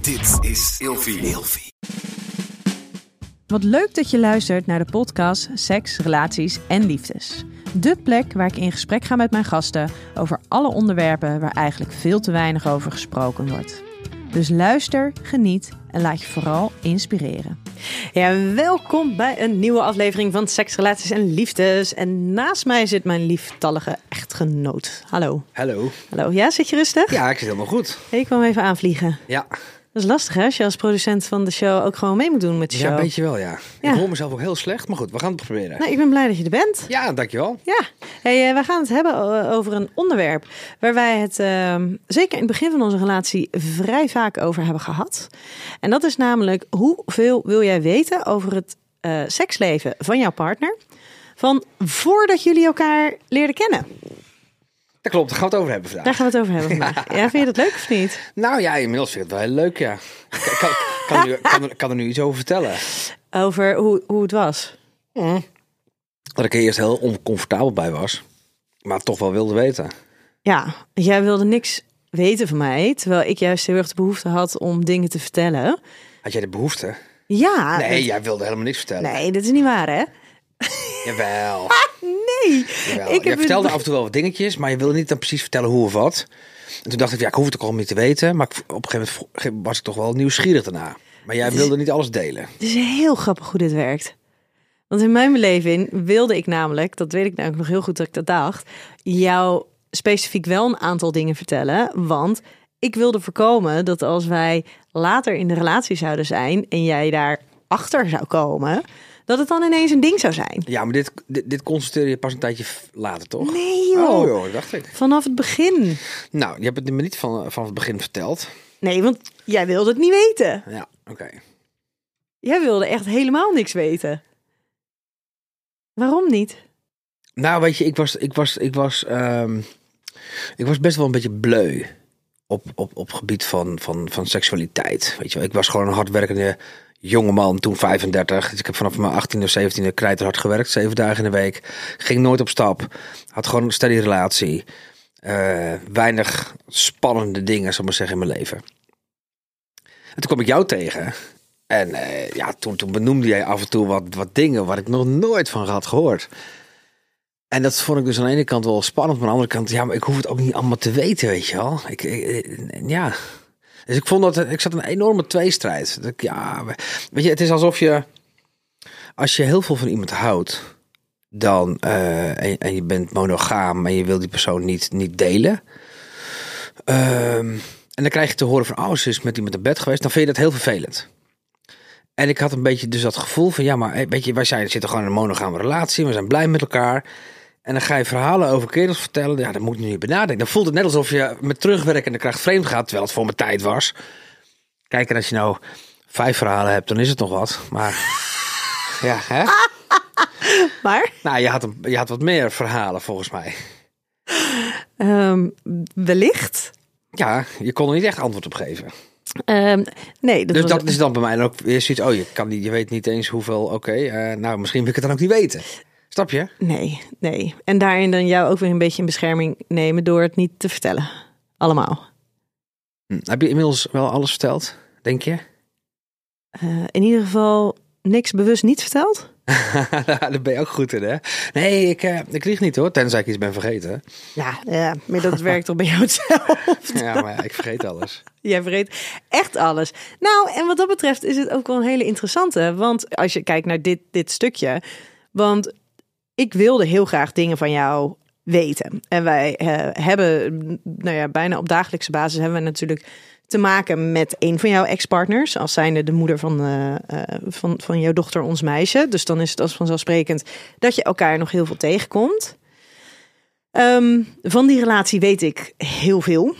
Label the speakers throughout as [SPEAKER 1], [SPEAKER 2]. [SPEAKER 1] Dit is Ilfie.
[SPEAKER 2] Wat leuk dat je luistert naar de podcast Seks, Relaties en Liefdes. De plek waar ik in gesprek ga met mijn gasten over alle onderwerpen waar eigenlijk veel te weinig over gesproken wordt. Dus luister, geniet en laat je vooral inspireren.
[SPEAKER 3] Ja, welkom bij een nieuwe aflevering van Seks, Relaties en Liefdes. En naast mij zit mijn lieftallige echtgenoot. Hallo.
[SPEAKER 4] Hallo.
[SPEAKER 3] Hallo. Ja, zit je rustig?
[SPEAKER 4] Ja, ik zit helemaal goed.
[SPEAKER 3] Ik kwam even aanvliegen.
[SPEAKER 4] Ja,
[SPEAKER 3] Dat is lastig hè, als je als producent van de show ook gewoon mee moet doen met de show.
[SPEAKER 4] Dus ja een beetje wel, ja.
[SPEAKER 3] Ja.
[SPEAKER 4] Ik hoor mezelf ook heel slecht, maar goed, we gaan het proberen.
[SPEAKER 3] Nou, ik ben blij dat je er bent.
[SPEAKER 4] Ja, dankjewel.
[SPEAKER 3] Ja, hey, eh, wij gaan het hebben eh, over een onderwerp waar wij het ehm, zeker in het begin van onze relatie vrij vaak over hebben gehad. En dat is namelijk hoeveel wil jij weten over het eh, seksleven van jouw partner van voordat jullie elkaar leerden kennen.
[SPEAKER 4] Dat klopt, daar gaan we het over hebben vandaag.
[SPEAKER 3] Daar gaan we het over hebben vandaag. Ja, vind je dat leuk of niet?
[SPEAKER 4] Nou ja, inmiddels vind ik het wel heel leuk, ja. Ik kan, kan, nu- kan, er- kan er nu iets over vertellen.
[SPEAKER 3] Over hoe, hoe het was.
[SPEAKER 4] Dat ik er eerst heel oncomfortabel bij was, maar toch wel wilde weten.
[SPEAKER 3] Ja, jij wilde niks weten van mij, terwijl ik juist heel erg de behoefte had om dingen te vertellen.
[SPEAKER 4] Had jij de behoefte?
[SPEAKER 3] Ja,
[SPEAKER 4] Nee,
[SPEAKER 3] dat-
[SPEAKER 4] jij wilde helemaal niks vertellen.
[SPEAKER 3] nee, dat is niet waar hè?
[SPEAKER 4] Jawel.
[SPEAKER 3] Nee,
[SPEAKER 4] jawel.
[SPEAKER 3] ik
[SPEAKER 4] Jij
[SPEAKER 3] heb
[SPEAKER 4] vertelde
[SPEAKER 3] een-
[SPEAKER 4] af en toe wel wat dingetjes, maar je wilde niet dan precies vertellen hoe of wat. En toen dacht ik, ja, ik hoef het toch al niet te weten. Maar ik- op een gegeven moment was ik toch wel nieuwsgierig daarna. Maar jij wilde niet alles delen.
[SPEAKER 3] Het is heel grappig hoe dit werkt. Want in mijn beleving wilde ik namelijk, dat weet ik namelijk nog heel goed dat ik dat dacht, jou specifiek wel een aantal dingen vertellen. Want ik wilde voorkomen dat als wij later in de relatie zouden zijn en jij daar achter zou komen, dat het dan ineens een ding zou zijn.
[SPEAKER 4] Ja, maar dit, dit, dit constateer je pas een tijdje f- later, toch?
[SPEAKER 3] Nee joh.
[SPEAKER 4] Oh joh, dat dacht ik.
[SPEAKER 3] Vanaf het begin.
[SPEAKER 4] Nou, je hebt het me niet van, van het begin verteld.
[SPEAKER 3] Nee, want jij wilde het niet weten.
[SPEAKER 4] Ja, oké.
[SPEAKER 3] Jij wilde echt helemaal niks weten. Waarom niet?
[SPEAKER 4] Nou, weet je, ik was, ik was, ik was, ehm, ik was best wel een beetje bleu op, op, op gebied van, van, van seksualiteit. Weet je wel, ik was gewoon een hardwerkende jonge man, toen 35. Dus ik heb vanaf mijn 18 of 17e knijterhard gewerkt, zeven dagen in de week. Ging nooit op stap, had gewoon een steady relatie. Eh, weinig spannende dingen, zal ik maar zeggen, in mijn leven. En toen kwam ik jou tegen. En eh, ja, toen, toen benoemde jij af en toe wat, wat dingen waar ik nog nooit van had gehoord. En dat vond ik dus aan de ene kant wel spannend, maar aan de andere kant, ja, maar ik hoef het ook niet allemaal te weten, weet je wel. Ik, ik- ik- ja. Dus ik vond dat, ik zat in een enorme tweestrijd. Dat ik, ja, weet je, het is alsof je, als je heel veel van iemand houdt, dan, eh, en, en je bent monogaam en je wil die persoon niet, niet delen. Ehm, en dan krijg je te horen van, oh, ze is met iemand naar bed geweest, dan vind je dat heel vervelend. En ik had een beetje dus dat gevoel van, ja, maar hé, weet je, wij zijn, zitten gewoon in een monogame relatie, we zijn blij met elkaar. En dan ga je verhalen over kerels vertellen, ja, daar moet ik nu niet benadenken. Dan voelt het net alsof je met terugwerkende kracht vreemd gaat, terwijl het voor mijn tijd was. Kijk, en als je nou vijf verhalen hebt, dan is het nog wat. Maar ja, hè?
[SPEAKER 3] Maar
[SPEAKER 4] Nou, je had, een, je had wat meer verhalen volgens mij.
[SPEAKER 3] ehm, wellicht.
[SPEAKER 4] Ja, je kon er niet echt antwoord op geven.
[SPEAKER 3] Ehm, nee, dat
[SPEAKER 4] Dus
[SPEAKER 3] was-
[SPEAKER 4] dat is dan bij mij ook weer zoiets. Oh, je, kan niet, je weet niet eens hoeveel. Oké, eh, nou, misschien wil ik het dan ook niet weten. Snap je?
[SPEAKER 3] Nee, nee. En daarin dan jou ook weer een beetje in bescherming nemen door het niet te vertellen. Allemaal.
[SPEAKER 4] Hm, Heb je inmiddels wel alles verteld, denk je?
[SPEAKER 3] Eh, in ieder geval niks bewust niet verteld.
[SPEAKER 4] Daar ben je ook goed in, hè? Nee, ik, eh, ik lieg niet hoor, tenzij ik iets ben vergeten.
[SPEAKER 3] Ja, ja maar dat werkt toch bij jou zelf.
[SPEAKER 4] Ja, maar ja, ik vergeet alles.
[SPEAKER 3] Jij vergeet echt alles. Nou, en wat dat betreft is het ook wel een hele interessante. Want als je kijkt naar dit, dit stukje. Want ik wilde heel graag dingen van jou weten. En wij eh, hebben, nou ja, bijna op dagelijkse basis hebben we natuurlijk te maken met een van jouw ex-partners. Als zijnde de moeder van, eh, eh, van, van jouw dochter, ons meisje. Dus dan is het als vanzelfsprekend dat je elkaar nog heel veel tegenkomt. Ehm, van die relatie weet ik heel veel.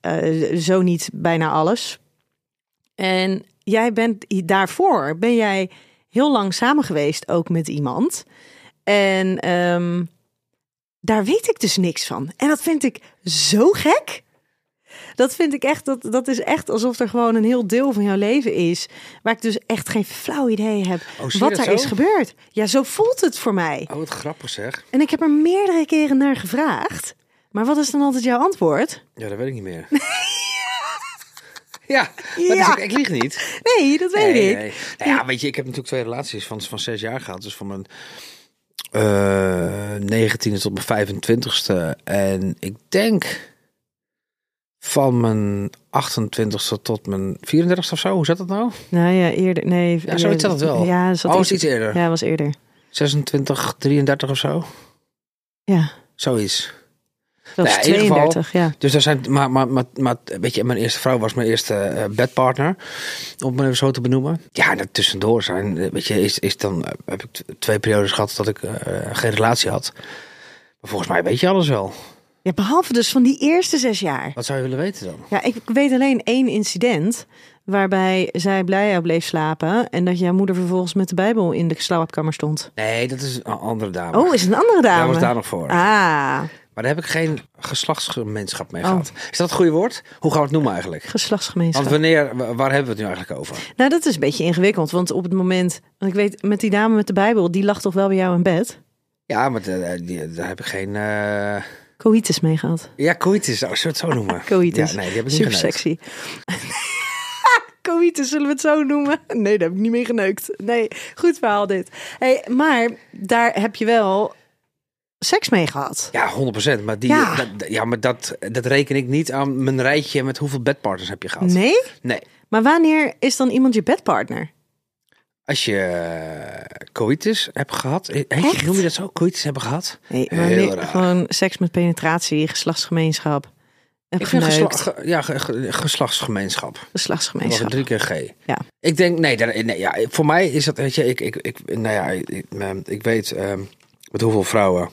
[SPEAKER 3] Eh, zo niet bijna alles. En jij bent daarvoor ben jij heel lang samen geweest, ook met iemand. En ehm, daar weet ik dus niks van. En dat vind ik zo gek. Dat vind ik echt, dat, dat is echt alsof er gewoon een heel deel van jouw leven is. Waar ik dus echt geen flauw idee heb
[SPEAKER 4] Oh, zie je
[SPEAKER 3] wat
[SPEAKER 4] dat
[SPEAKER 3] daar
[SPEAKER 4] zo?
[SPEAKER 3] is gebeurd. Ja, zo voelt het voor mij.
[SPEAKER 4] Oh, wat grappig zeg.
[SPEAKER 3] En ik heb er meerdere keren naar gevraagd. Maar wat is dan altijd jouw antwoord?
[SPEAKER 4] Ja, dat weet ik niet meer. Ja, dat
[SPEAKER 3] Ja.
[SPEAKER 4] Is, ik, ik lieg niet.
[SPEAKER 3] Nee, dat weet
[SPEAKER 4] Nee,
[SPEAKER 3] ik.
[SPEAKER 4] nee. Nou ja, weet je, ik heb natuurlijk twee relaties van, van zes jaar gehad. Dus van mijn eh 19e tot mijn 25e. En ik denk van mijn 28e tot mijn 34e of zo. Hoe zat dat nou?
[SPEAKER 3] Nou ja, eerder. Nee,
[SPEAKER 4] Ja, zoiets had het wel.
[SPEAKER 3] Ja, dat zat
[SPEAKER 4] oh, is
[SPEAKER 3] iets-
[SPEAKER 4] iets eerder.
[SPEAKER 3] Ja, was eerder.
[SPEAKER 4] 26, 33 of zo.
[SPEAKER 3] Ja,
[SPEAKER 4] Zoiets.
[SPEAKER 3] zelfs
[SPEAKER 4] Nou ja, in ieder geval-
[SPEAKER 3] 32, ja.
[SPEAKER 4] Dus daar zijn, maar, maar, maar, maar, weet je, mijn eerste vrouw was mijn eerste eh, bedpartner, om het maar even zo te benoemen. Ja, en dat tussendoor zijn, eh, weet je, is, is dan, eh, heb ik t- twee periodes gehad dat ik eh, geen relatie had. Maar volgens mij weet je alles wel.
[SPEAKER 3] Ja, behalve dus van die eerste zes jaar.
[SPEAKER 4] Wat zou je willen weten dan?
[SPEAKER 3] Ja, ik weet alleen één incident waarbij zij blij jou bleef slapen en dat jouw moeder vervolgens met de Bijbel in de slaapkamer stond.
[SPEAKER 4] Nee, dat is een a- andere dame.
[SPEAKER 3] Oh, is het een andere dame?
[SPEAKER 4] Daar was daar nog voor.
[SPEAKER 3] Ah,
[SPEAKER 4] Maar daar heb ik geen geslachtsgemeenschap mee
[SPEAKER 3] Oh.
[SPEAKER 4] gehad. Is dat het goede woord? Hoe gaan we het noemen eigenlijk?
[SPEAKER 3] geslachtsgemeenschap.
[SPEAKER 4] Want wanneer, wa- waar hebben we het nu eigenlijk over?
[SPEAKER 3] Nou, dat is een beetje ingewikkeld, want op het moment, want ik weet, met die dame met de Bijbel, die lag toch wel bij jou in bed?
[SPEAKER 4] Ja, maar eh, die- daar heb ik geen... eh,
[SPEAKER 3] Coitus mee gehad.
[SPEAKER 4] Ja, coitus, zou zou het zo noemen.
[SPEAKER 3] Coitus.
[SPEAKER 4] Ja, nee, die heb ik niet
[SPEAKER 3] Super
[SPEAKER 4] geneukt.
[SPEAKER 3] sexy. Coïtus, zullen we het zo noemen? Nee, daar heb ik niet mee geneukt. Nee, goed verhaal dit. Hey, maar daar heb je wel seks mee gehad.
[SPEAKER 4] Ja, 100%. Maar, die,
[SPEAKER 3] Ja.
[SPEAKER 4] dat- dat- ja, maar dat, dat reken ik niet aan mijn rijtje met hoeveel bedpartners heb je gehad.
[SPEAKER 3] Nee?
[SPEAKER 4] Nee.
[SPEAKER 3] Maar wanneer is dan iemand je bedpartner?
[SPEAKER 4] Als je eh, coitus hebt gehad. eh, heet-
[SPEAKER 3] Echt?
[SPEAKER 4] noem je dat zo? Coitus hebben gehad?
[SPEAKER 3] Nee,
[SPEAKER 4] Heel
[SPEAKER 3] wanneer
[SPEAKER 4] raar.
[SPEAKER 3] gewoon seks met penetratie, geslachtsgemeenschap. Heb
[SPEAKER 4] Ik vind
[SPEAKER 3] geneukt,
[SPEAKER 4] gesla- ge- ja, ge- ge- geslachtsgemeenschap. Dat was
[SPEAKER 3] geslachtsgemeenschap.
[SPEAKER 4] een drie keer G.
[SPEAKER 3] Ja.
[SPEAKER 4] Ik denk, nee, daar- nee ja, voor mij is dat, weet je, ik, ik, ik, nou ja, ik, ik, ehm, ik weet ehm, met hoeveel vrouwen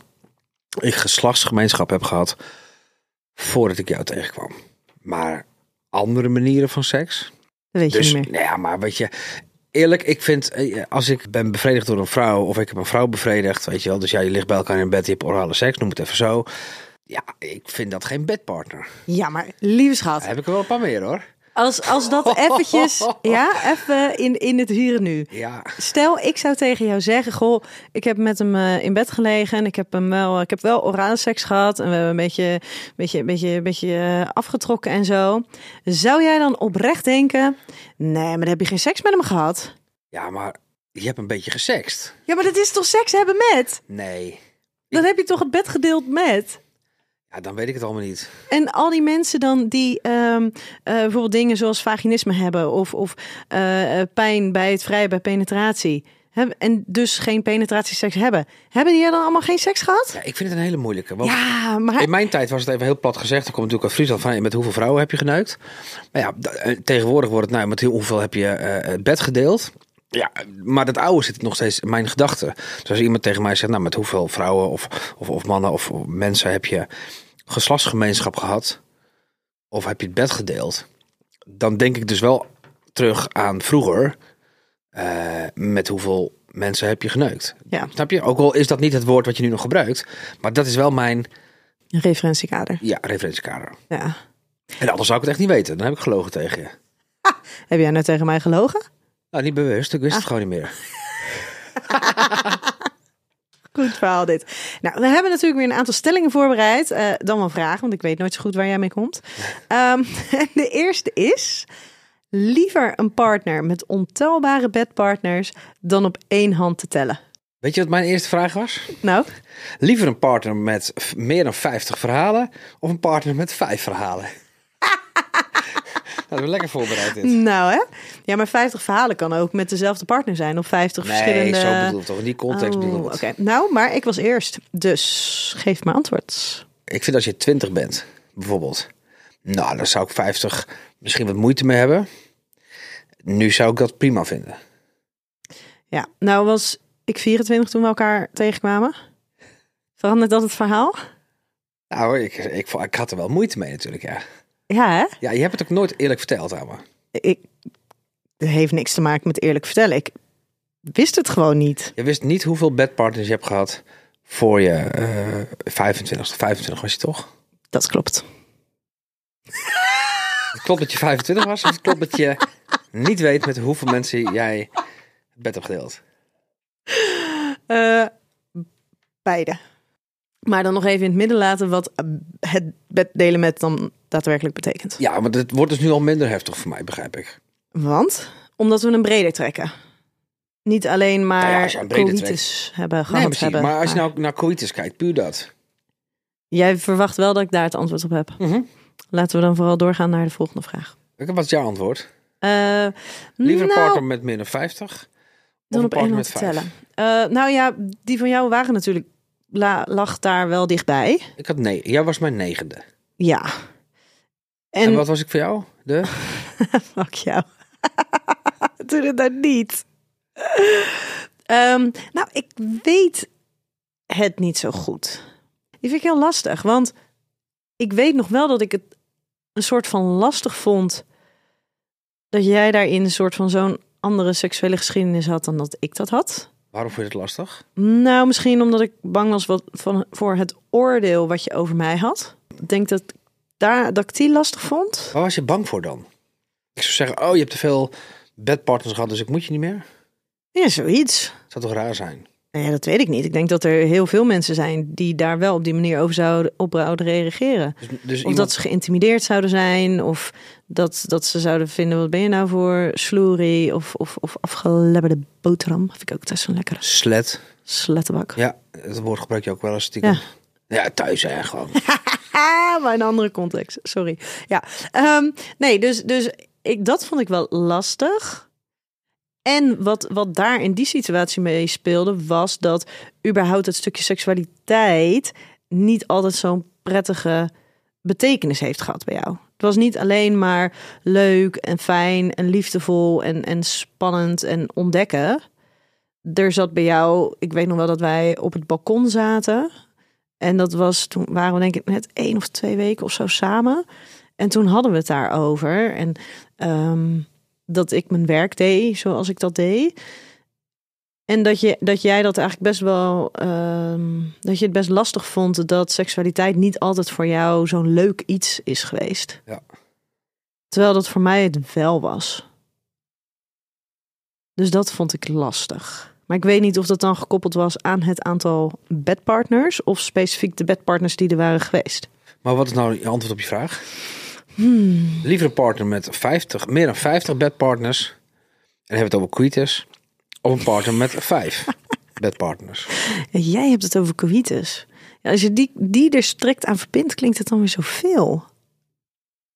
[SPEAKER 4] ik geslachtsgemeenschap heb gehad voordat ik jou tegenkwam. Maar andere manieren van seks,
[SPEAKER 3] Dat weet je
[SPEAKER 4] Dus,
[SPEAKER 3] niet meer.
[SPEAKER 4] nou ja, maar weet je, eerlijk, ik vind, eh, als ik ben bevredigd door een vrouw, of ik heb een vrouw bevredigd, weet je wel, dus ja, je ligt bij elkaar in bed, je hebt orale seks, noem het even zo. Ja, ik vind dat geen bedpartner.
[SPEAKER 3] Ja, maar lieve
[SPEAKER 4] Daar
[SPEAKER 3] schat,
[SPEAKER 4] heb ik er wel een paar meer hoor.
[SPEAKER 3] als, als dat eventjes... Ja, even in, in het hier en nu.
[SPEAKER 4] Ja,
[SPEAKER 3] Stel, ik zou tegen jou zeggen: Goh, ik heb met hem eh, in bed gelegen en ik heb hem wel, ik heb wel orale seks gehad en we hebben een beetje, beetje, beetje, beetje eh, afgetrokken en zo. Zou jij dan oprecht denken: Nee, maar dan heb je geen seks met hem gehad?
[SPEAKER 4] ja, maar je hebt een beetje gesext.
[SPEAKER 3] Ja, maar dat is toch seks hebben met?
[SPEAKER 4] Nee,
[SPEAKER 3] Dan heb je toch het bed gedeeld met?
[SPEAKER 4] ja, dan weet ik het allemaal niet.
[SPEAKER 3] En al die mensen dan die ehm, eh, bijvoorbeeld dingen zoals vaginisme hebben of, of eh, eh, pijn bij het vrij bij penetratie. hebben En dus geen penetratieseks hebben. Hebben die er dan allemaal geen seks gehad?
[SPEAKER 4] Ja, ik vind het een hele moeilijke. Want
[SPEAKER 3] Ja, maar
[SPEAKER 4] In mijn tijd was het even heel plat gezegd. Er komt natuurlijk uit Friesland van hey, met hoeveel vrouwen heb je geneukt. Maar ja, d- eh, tegenwoordig wordt het nou met heel- hoeveel heb je eh, het bed gedeeld. Ja, maar dat oude zit nog steeds in mijn gedachten. Dus als iemand tegen mij zegt, nou met hoeveel vrouwen of, of, of mannen of mensen heb je geslachtsgemeenschap gehad? Of heb je het bed gedeeld? Dan denk ik dus wel terug aan vroeger. eh, met hoeveel mensen heb je geneukt?
[SPEAKER 3] ja,
[SPEAKER 4] Snap je? Ook al is dat niet het woord wat je nu nog gebruikt. Maar dat is wel mijn
[SPEAKER 3] een referentiekader.
[SPEAKER 4] ja, referentiekader.
[SPEAKER 3] Ja.
[SPEAKER 4] En anders zou ik het echt niet weten. Dan heb ik gelogen tegen je.
[SPEAKER 3] Heb jij nou tegen mij gelogen?
[SPEAKER 4] Nou, niet bewust. Ik wist
[SPEAKER 3] Ah.
[SPEAKER 4] het gewoon niet meer.
[SPEAKER 3] Goed verhaal dit. Nou, we hebben natuurlijk weer een aantal stellingen voorbereid. Eh, dan wel vragen, want ik weet nooit zo goed waar jij mee komt. Ehm, de eerste is... Liever een partner met ontelbare bedpartners dan op één hand te tellen.
[SPEAKER 4] Weet je wat mijn eerste vraag was?
[SPEAKER 3] Nou,
[SPEAKER 4] Liever een partner met v- meer dan 50 verhalen of een partner met 5 verhalen? dat is wel lekker voorbereid dit.
[SPEAKER 3] nou hè? Ja, maar 50 verhalen kan ook met dezelfde partner zijn. Of 50
[SPEAKER 4] Nee,
[SPEAKER 3] verschillende...
[SPEAKER 4] zo bedoel ik toch. In die context
[SPEAKER 3] Oh,
[SPEAKER 4] bedoel ik
[SPEAKER 3] Oké,
[SPEAKER 4] het.
[SPEAKER 3] nou, maar ik was eerst. Dus geef me antwoord.
[SPEAKER 4] Ik vind als je 20 bent, bijvoorbeeld. Nou, dan zou ik 50 misschien wat moeite mee hebben. Nu zou ik dat prima vinden.
[SPEAKER 3] Ja, nou was ik 24 toen we elkaar tegenkwamen. Verandert dat het verhaal?
[SPEAKER 4] Nou, ik, ik, ik had er wel moeite mee natuurlijk, ja.
[SPEAKER 3] Ja, hè?
[SPEAKER 4] Ja, je hebt het ook nooit eerlijk verteld aan me.
[SPEAKER 3] Ik, het heeft niks te maken met eerlijk vertellen. Ik wist het gewoon niet.
[SPEAKER 4] Je wist niet hoeveel bedpartners je hebt gehad voor je eh 25 25 was je toch?
[SPEAKER 3] Dat klopt.
[SPEAKER 4] Het klopt dat je 25 was, of het klopt dat je niet weet met hoeveel mensen jij het bed hebt gedeeld.
[SPEAKER 3] Eh, beide. Maar dan nog even in het midden laten wat eh, het bed delen met dan daadwerkelijk betekent.
[SPEAKER 4] Ja, maar het wordt dus nu al minder heftig voor mij, begrijp ik.
[SPEAKER 3] Want? Omdat we hem breder trekken. Niet alleen maar
[SPEAKER 4] Nou ja,
[SPEAKER 3] ja,
[SPEAKER 4] als je hem breder
[SPEAKER 3] hebben gehad
[SPEAKER 4] Nee, precies.
[SPEAKER 3] hebben.
[SPEAKER 4] maar als je nou naar coïtus kijkt, puur dat.
[SPEAKER 3] Jij verwacht wel dat ik daar het antwoord op heb.
[SPEAKER 4] Mhm.
[SPEAKER 3] Laten we dan vooral doorgaan naar de volgende vraag.
[SPEAKER 4] Ik- Wat is jouw antwoord?
[SPEAKER 3] Eh,
[SPEAKER 4] Liever een
[SPEAKER 3] nou,
[SPEAKER 4] partner met minder 50?
[SPEAKER 3] dan
[SPEAKER 4] een
[SPEAKER 3] op één hand
[SPEAKER 4] partner met
[SPEAKER 3] te
[SPEAKER 4] vijf?
[SPEAKER 3] tellen. Eh, nou ja, die van jou waren natuurlijk la, lag daar wel dichtbij.
[SPEAKER 4] Ik had nee. Jij was mijn negende. En,
[SPEAKER 3] Ja. En,
[SPEAKER 4] wat was ik voor jou? De?
[SPEAKER 3] Fuck jou. Doe het nou niet. Ehm, nou, ik weet het niet zo goed. Die vind ik heel lastig, want ik weet nog wel dat ik het een soort van lastig vond dat jij daarin een soort van zo'n andere seksuele geschiedenis had dan dat ik dat had.
[SPEAKER 4] Waarom vond je het lastig?
[SPEAKER 3] Nou, misschien omdat ik bang was wat van, voor het oordeel wat je over mij had. Ik denk dat, ik daar, dat ik die lastig vond.
[SPEAKER 4] Waar was je bang voor dan? Ik zou zeggen, oh, je hebt te veel bedpartners gehad, dus ik moet je niet meer.
[SPEAKER 3] Ja, zoiets.
[SPEAKER 4] zou toch raar zijn?
[SPEAKER 3] Nou Ja, dat weet ik niet. Ik denk dat er heel veel mensen zijn die daar wel op die manier over zouden, op zouden reageren.
[SPEAKER 4] Dus, dus
[SPEAKER 3] Of
[SPEAKER 4] iemand...
[SPEAKER 3] dat ze geïntimideerd zouden zijn, of dat, dat ze zouden vinden: wat ben je nou voor sloerie of, of, of afgelebberde boterham? Vind ik ook best zo'n lekkere
[SPEAKER 4] Slet.
[SPEAKER 3] slettenbak.
[SPEAKER 4] Ja, dat woord gebruik je ook wel eens stiekem.
[SPEAKER 3] Ja.
[SPEAKER 4] Ja, thuis hè, gewoon.
[SPEAKER 3] Ah, maar in een andere context. Sorry. Ja. Ehm, nee, dus, dus ik, dat vond ik wel lastig. En wat, wat daar in die situatie mee speelde, was dat überhaupt het stukje seksualiteit niet altijd zo'n prettige betekenis heeft gehad bij jou. Het was niet alleen maar leuk en fijn en liefdevol en, en spannend en ontdekken. Er zat bij jou, ik weet nog wel dat wij op het balkon zaten. En dat was toen waren we denk ik net één of twee weken of zo samen. En toen hadden we het daarover. En ehm, dat ik mijn werk deed zoals ik dat deed. En dat, je, dat jij dat eigenlijk best wel. ehm, dat je het best lastig vond dat seksualiteit niet altijd voor jou zo'n leuk iets is geweest.
[SPEAKER 4] Ja.
[SPEAKER 3] Terwijl dat voor mij het wel was. Dus dat vond ik lastig. Maar ik weet niet of dat dan gekoppeld was aan het aantal bedpartners of specifiek de bedpartners die er waren geweest.
[SPEAKER 4] Maar wat is nou je antwoord op je vraag?
[SPEAKER 3] Hmm.
[SPEAKER 4] Liever een partner met 50, meer dan 50 bedpartners. En dan hebben we het over coitus. Of een partner met 5 bedpartners.
[SPEAKER 3] En jij hebt het over coïtus. Ja, als je die, die er strikt aan verbindt, klinkt het dan weer zoveel.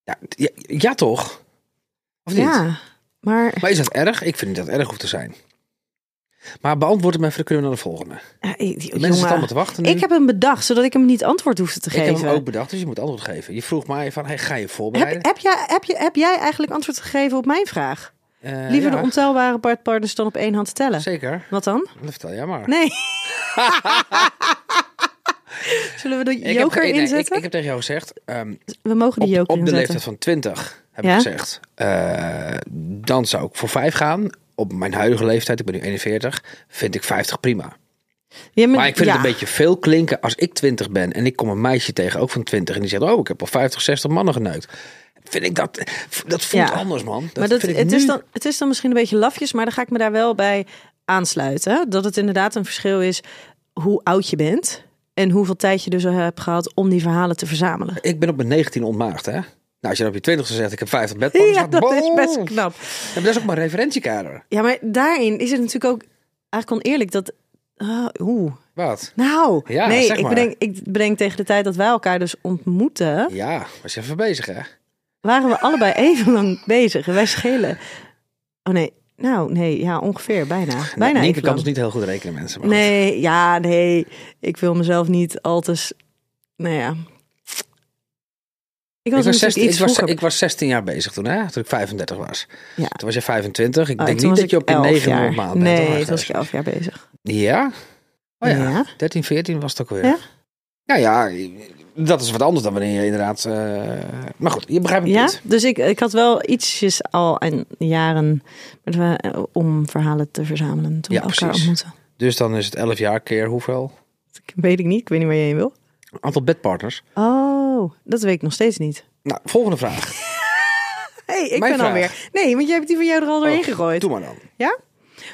[SPEAKER 4] Ja, ja, ja, toch? Of niet?
[SPEAKER 3] Ja, maar
[SPEAKER 4] Maar is dat erg? Ik vind niet dat het erg hoeft te zijn. Maar beantwoord het maar even, dan kunnen we naar de volgende.
[SPEAKER 3] eh, eh, die-
[SPEAKER 4] Mensen zitten allemaal
[SPEAKER 3] jongen,
[SPEAKER 4] te wachten nu.
[SPEAKER 3] ik heb hem bedacht, zodat ik hem niet antwoord hoefde te
[SPEAKER 4] Ik heb
[SPEAKER 3] geven.
[SPEAKER 4] hem ook bedacht, dus je moet antwoord geven. Je vroeg mij van, hey, ga je
[SPEAKER 3] heb,
[SPEAKER 4] voorbereiden?
[SPEAKER 3] heb, jij, heb, je, heb jij eigenlijk antwoord gegeven op mijn vraag?
[SPEAKER 4] Eh,
[SPEAKER 3] Liever
[SPEAKER 4] ja,
[SPEAKER 3] de ontelbare partners dan op één hand te tellen.
[SPEAKER 4] Zeker,
[SPEAKER 3] Wat dan?
[SPEAKER 4] dat vertel jij maar.
[SPEAKER 3] Nee. Zullen we de
[SPEAKER 4] Ik heb-
[SPEAKER 3] joker
[SPEAKER 4] nee, nee,
[SPEAKER 3] inzetten?
[SPEAKER 4] Ik, ik heb tegen jou gezegd, ehm,
[SPEAKER 3] we mogen de
[SPEAKER 4] op,
[SPEAKER 3] joker
[SPEAKER 4] op de
[SPEAKER 3] inzetten.
[SPEAKER 4] leeftijd van 20 heb
[SPEAKER 3] Ja?
[SPEAKER 4] ik gezegd, eh, dan zou ik voor 5 gaan. Op mijn huidige leeftijd, ik ben nu 41, vind ik 50 prima.
[SPEAKER 3] Ja,
[SPEAKER 4] Maar ik vind
[SPEAKER 3] ja.
[SPEAKER 4] het een beetje veel klinken als ik 20 ben en ik kom een meisje tegen, ook van 20, en die zegt: Oh, ik heb al 50, 60 mannen geneukt. Vind ik dat, dat voelt
[SPEAKER 3] Ja.
[SPEAKER 4] anders, man. Dat
[SPEAKER 3] maar dat,
[SPEAKER 4] vind ik
[SPEAKER 3] het,
[SPEAKER 4] nu-
[SPEAKER 3] is dan, het is dan misschien een beetje lafjes, maar dan ga ik me daar wel bij aansluiten. Dat het inderdaad een verschil is hoe oud je bent en hoeveel tijd je dus al hebt gehad om die verhalen te verzamelen.
[SPEAKER 4] Ik ben op mijn 19 ontmaagd, hè? Nou, als je dan op je 20 zegt: Ik heb 50 bedpartners.
[SPEAKER 3] Ja, dat is best
[SPEAKER 4] Ja,
[SPEAKER 3] knap.
[SPEAKER 4] maar dat is ook mijn referentiekader.
[SPEAKER 3] Ja, maar daarin is het natuurlijk ook eigenlijk oneerlijk dat. ah, Oeh.
[SPEAKER 4] Wat?
[SPEAKER 3] Nou,
[SPEAKER 4] Ja,
[SPEAKER 3] nee,
[SPEAKER 4] zeg
[SPEAKER 3] ik,
[SPEAKER 4] maar.
[SPEAKER 3] bedenk, ik bedenk tegen de tijd dat wij elkaar dus ontmoeten,
[SPEAKER 4] Ja, was je even bezig, hè?
[SPEAKER 3] waren we allebei even lang bezig. En wij schelen. Oh nee, nou nee, ja, ongeveer, bijna. Bijna even
[SPEAKER 4] Nee, ik kan
[SPEAKER 3] lang.
[SPEAKER 4] dus niet heel goed rekenen, mensen. Maar goed.
[SPEAKER 3] Nee, ja, nee. Ik wil mezelf niet al te... s- Nou ja. Ik
[SPEAKER 4] Ik
[SPEAKER 3] was,
[SPEAKER 4] was,
[SPEAKER 3] natuurlijk
[SPEAKER 4] 16,
[SPEAKER 3] iets
[SPEAKER 4] ik, was,
[SPEAKER 3] vroeger.
[SPEAKER 4] ik was 16 jaar bezig toen, hè? Toen ik 35 was.
[SPEAKER 3] Ja.
[SPEAKER 4] Toen was je 25. Ik
[SPEAKER 3] Oh,
[SPEAKER 4] denk
[SPEAKER 3] toen
[SPEAKER 4] niet
[SPEAKER 3] was
[SPEAKER 4] dat je
[SPEAKER 3] ik
[SPEAKER 4] op je
[SPEAKER 3] 11
[SPEAKER 4] negende
[SPEAKER 3] jaar.
[SPEAKER 4] maand bent.
[SPEAKER 3] Nee,
[SPEAKER 4] hoor.
[SPEAKER 3] toen was ik elf jaar bezig.
[SPEAKER 4] Ja? Oh ja.
[SPEAKER 3] Ja.
[SPEAKER 4] 13, 14 was het ook weer.
[SPEAKER 3] Ja?
[SPEAKER 4] Ja, ja, dat is wat anders dan wanneer je inderdaad... eh, Maar goed, je begrijpt het
[SPEAKER 3] Ja,
[SPEAKER 4] niet.
[SPEAKER 3] dus ik, ik had wel ietsjes al en jaren met we- eh, om verhalen te verzamelen toen
[SPEAKER 4] Ja,
[SPEAKER 3] we elkaar
[SPEAKER 4] precies.
[SPEAKER 3] ontmoetten.
[SPEAKER 4] Dus dan is het 11 jaar keer hoeveel?
[SPEAKER 3] Ik weet ik niet, ik weet niet waar je heen wil.
[SPEAKER 4] Een aantal bedpartners.
[SPEAKER 3] Oh, dat weet ik nog steeds niet.
[SPEAKER 4] Nou, volgende vraag.
[SPEAKER 3] hey, ik
[SPEAKER 4] Mijn
[SPEAKER 3] ben
[SPEAKER 4] vraag.
[SPEAKER 3] alweer. Nee, want jij hebt die van jou er al doorheen gegooid.
[SPEAKER 4] Oh, Doe maar dan.
[SPEAKER 3] Ja?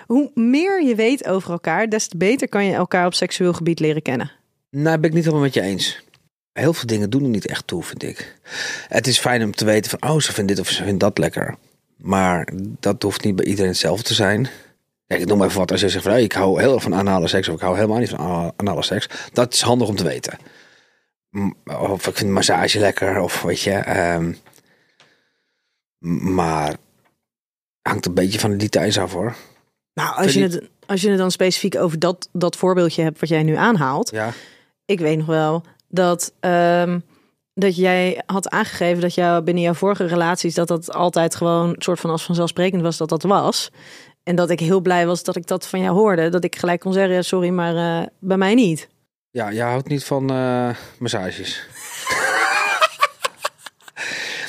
[SPEAKER 3] Hoe meer je weet over elkaar, des te beter kan je elkaar op seksueel gebied leren kennen.
[SPEAKER 4] Nou, ben ik niet helemaal met je eens. Heel veel dingen doen er niet echt toe, vind ik. Het is fijn om te weten van, oh, ze vindt dit of ze vindt dat lekker. Maar dat hoeft niet bij iedereen hetzelfde te zijn. Kijk, ik noem maar even wat. Als je zegt van, hey, ik hou heel erg van anale seks of ik hou helemaal niet van ana- anale seks. Dat is handig om te weten. M- Of ik vind massage lekker of weet je. ehm. M- maar hangt een beetje van de details af hoor.
[SPEAKER 3] Nou, als je,
[SPEAKER 4] Vind
[SPEAKER 3] het, als je het dan specifiek over dat, dat voorbeeldje hebt wat jij nu aanhaalt.
[SPEAKER 4] Ja.
[SPEAKER 3] Ik weet nog wel dat, ehm, dat jij had aangegeven dat jou binnen jouw vorige relaties dat dat altijd gewoon een soort van als vanzelfsprekend was dat dat was. En dat ik heel blij was dat ik dat van jou hoorde. Dat ik gelijk kon zeggen, ja, sorry, maar eh, bij mij niet.
[SPEAKER 4] Ja, jij houdt niet van eh, massages.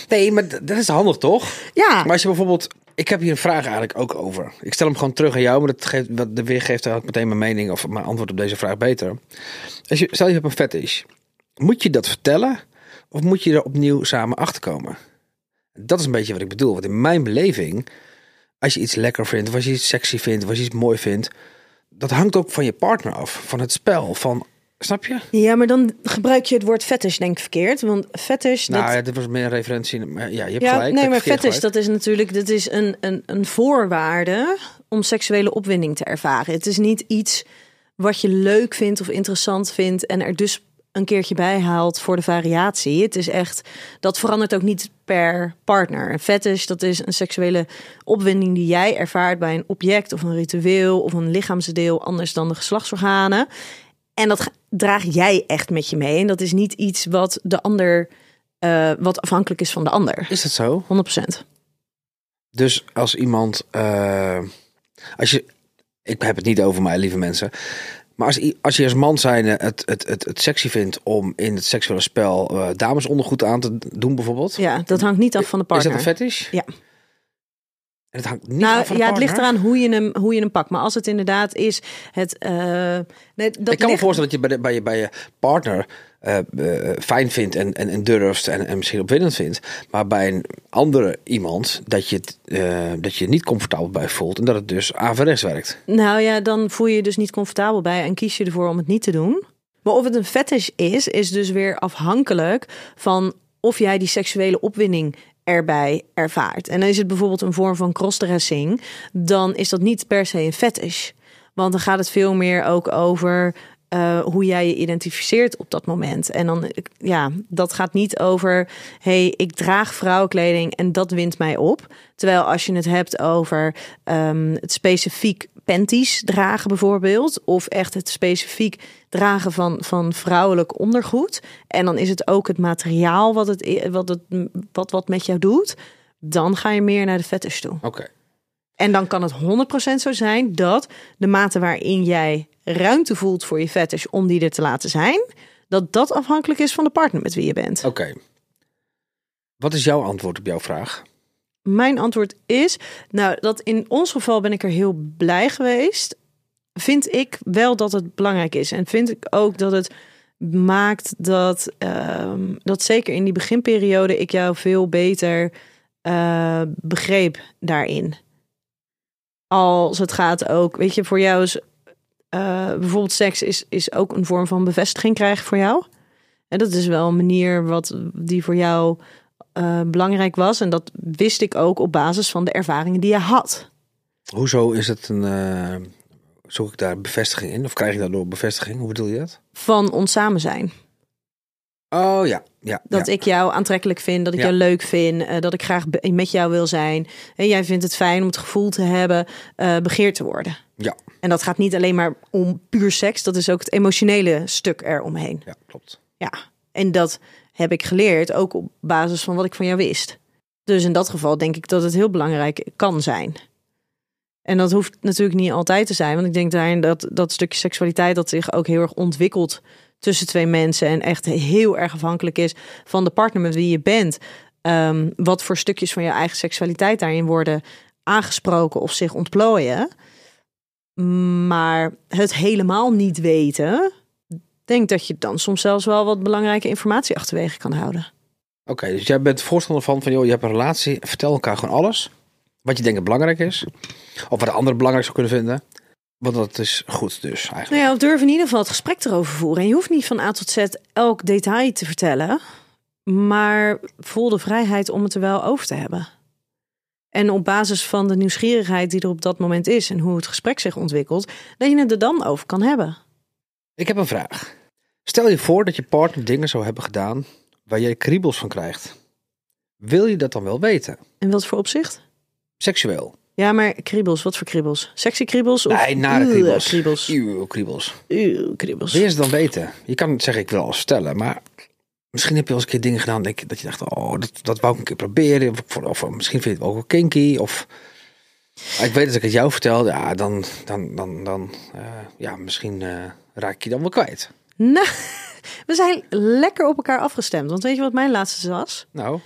[SPEAKER 4] nee, maar d- dat is handig toch?
[SPEAKER 3] Ja,
[SPEAKER 4] Maar als je bijvoorbeeld... Ik heb hier een vraag eigenlijk ook over. Ik stel hem gewoon terug aan jou, maar dat geeft, wat de weer geeft eigenlijk meteen mijn mening of mijn antwoord op deze vraag beter. Als je, stel je hebt een fetish. Moet je dat vertellen of moet je er opnieuw samen achter komen? Dat is een beetje wat ik bedoel. Want in mijn beleving, als je iets lekker vindt, of als je iets sexy vindt, of als je iets mooi vindt, dat hangt ook van je partner af, van het spel, van... Snap je?
[SPEAKER 3] ja maar dan gebruik je het woord fetish denk ik verkeerd. Want fetish,
[SPEAKER 4] Nou
[SPEAKER 3] dat,
[SPEAKER 4] ja, dit was meer een referentie. maar Ja, je hebt
[SPEAKER 3] Ja,
[SPEAKER 4] gelijk.
[SPEAKER 3] nee,
[SPEAKER 4] heb
[SPEAKER 3] maar
[SPEAKER 4] verkeerd
[SPEAKER 3] fetish,
[SPEAKER 4] gelijk.
[SPEAKER 3] dat is natuurlijk dat is een, een, een voorwaarde om seksuele opwinding te ervaren. Het is niet iets wat je leuk vindt of interessant vindt en er dus een keertje bij haalt voor de variatie. Het is echt, dat verandert ook niet per partner. Een fetish, dat is een seksuele opwinding die jij ervaart bij een object of een ritueel of een lichaamsdeel anders dan de geslachtsorganen. En dat ga- draag jij echt met je mee. En dat is niet iets wat de ander, eh, wat afhankelijk is van de ander.
[SPEAKER 4] Is dat zo?
[SPEAKER 3] 100 procent.
[SPEAKER 4] Dus als iemand. eh, als je, ik heb het niet over mij, lieve mensen. Maar als, i- als je als man zijnde het, het, het, het sexy vindt om in het seksuele spel eh, damesondergoed aan te doen, bijvoorbeeld.
[SPEAKER 3] Ja, dat hangt niet af van de
[SPEAKER 4] Is
[SPEAKER 3] partner.
[SPEAKER 4] dat een fetish?
[SPEAKER 3] Ja.
[SPEAKER 4] En het hangt niet af
[SPEAKER 3] nou
[SPEAKER 4] van de
[SPEAKER 3] ja, het ligt
[SPEAKER 4] partner?
[SPEAKER 3] eraan hoe je hem, hoe je hem pakt. Maar als het inderdaad is het. eh, nee, dat
[SPEAKER 4] ik kan
[SPEAKER 3] ligt-
[SPEAKER 4] me voorstellen dat je bij, de- bij, je, bij je partner eh, eh, fijn vindt en, en, en durft en, en misschien opwindend vindt. Maar bij een andere iemand dat je, het, eh, dat je je niet comfortabel bij voelt en dat het dus averechts werkt.
[SPEAKER 3] Nou ja, dan voel je je dus niet comfortabel bij en kies je ervoor om het niet te doen. Maar of het een fetish is, is dus weer afhankelijk van of jij die seksuele opwinding erbij ervaart. En is het bijvoorbeeld een vorm van crossdressing, dan is dat niet per se een fetish. Want dan gaat het veel meer ook over eh, hoe jij je identificeert op dat moment. En dan, eh, ja, dat gaat niet over, hey, ik draag vrouwenkleding en dat wint mij op. Terwijl als je het hebt over ehm, het specifiek panties dragen bijvoorbeeld, of echt het specifiek dragen van, van vrouwelijk ondergoed. En dan is het ook het materiaal wat het, i- wat, het, wat, wat met jou doet. Dan ga je meer naar de fetish toe.
[SPEAKER 4] Oké.
[SPEAKER 3] En dan kan het 100% zo zijn dat de mate waarin jij ruimte voelt voor je fetish om die er te laten zijn, dat dat afhankelijk is van de partner met wie je bent.
[SPEAKER 4] Oké. Wat is jouw antwoord op jouw vraag?
[SPEAKER 3] Mijn antwoord is, nou, dat in ons geval ben ik er heel blij geweest. Vind ik wel dat het belangrijk is. En vind ik ook dat het maakt dat, ehm, dat zeker in die beginperiode ik jou veel beter eh, begreep daarin. Als het gaat ook, weet je, voor jou is eh, bijvoorbeeld seks is, is ook een vorm van bevestiging krijgen voor jou. En dat is wel een manier wat, die voor jou eh, belangrijk was. En dat wist ik ook op basis van de ervaringen die je had.
[SPEAKER 4] Hoezo is het een. eh, zoek ik daar bevestiging in? Of krijg ik daardoor bevestiging? Hoe bedoel je dat?
[SPEAKER 3] Van ons samen zijn.
[SPEAKER 4] Oh ja, ja.
[SPEAKER 3] Dat
[SPEAKER 4] ja.
[SPEAKER 3] ik jou aantrekkelijk vind, dat ik
[SPEAKER 4] Ja.
[SPEAKER 3] jou leuk vind, eh, dat ik graag be- met jou wil zijn. En jij vindt het fijn om het gevoel te hebben eh, begeerd te worden.
[SPEAKER 4] Ja,
[SPEAKER 3] En dat gaat niet alleen maar om puur seks, dat is ook het emotionele stuk eromheen.
[SPEAKER 4] ja, klopt.
[SPEAKER 3] Ja, en dat heb ik geleerd ook op basis van wat ik van jou wist. Dus in dat geval denk ik dat het heel belangrijk kan zijn. En dat hoeft natuurlijk niet altijd te zijn, want ik denk daarin dat dat stukje seksualiteit dat zich ook heel erg ontwikkelt tussen twee mensen en echt heel erg afhankelijk is van de partner met wie je bent. Ehm, wat voor stukjes van je eigen seksualiteit daarin worden aangesproken of zich ontplooien. Maar het helemaal niet weten, denk dat je dan soms zelfs wel wat belangrijke informatie achterwege kan houden.
[SPEAKER 4] Oké, dus jij bent voorstander van, van joh, je hebt een relatie, vertel elkaar gewoon alles. Wat je denkt dat belangrijk is. Of wat de ander belangrijk zou kunnen vinden. Want dat is goed dus eigenlijk.
[SPEAKER 3] Nou ja, of durf in ieder geval het gesprek erover voeren. En je hoeft niet van A tot Z elk detail te vertellen. Maar voel de vrijheid om het er wel over te hebben. En op basis van de nieuwsgierigheid die er op dat moment is en hoe het gesprek zich ontwikkelt, dat je het er dan over kan hebben.
[SPEAKER 4] Ik heb een vraag. Stel je voor dat je partner dingen zou hebben gedaan waar jij kriebels van krijgt. Wil je dat dan wel weten?
[SPEAKER 3] En wat voor opzicht?
[SPEAKER 4] Seksueel.
[SPEAKER 3] Ja, maar kriebels, wat voor kriebels? Sexy kriebels of
[SPEAKER 4] Nee, nare
[SPEAKER 3] Eeuw,
[SPEAKER 4] kriebels.
[SPEAKER 3] kriebels?
[SPEAKER 4] Eeuw, kriebels.
[SPEAKER 3] Eeuw, kriebels.
[SPEAKER 4] Wil je ze dan weten? Je kan zeggen, ik wil alles vertellen, maar misschien heb je wel eens een keer dingen gedaan denk, je- dat je dacht, oh, dat, dat wou ik een keer proberen. Of, ik vond- of misschien vind je het ook wel kinky. Of ik weet dat ik het jou vertel, ja, dan, dan, dan, dan eh, ja, misschien eh, raak ik je dan wel kwijt.
[SPEAKER 3] Nou, we zijn lekker op elkaar afgestemd. Want weet je wat mijn laatste was?
[SPEAKER 4] Nou,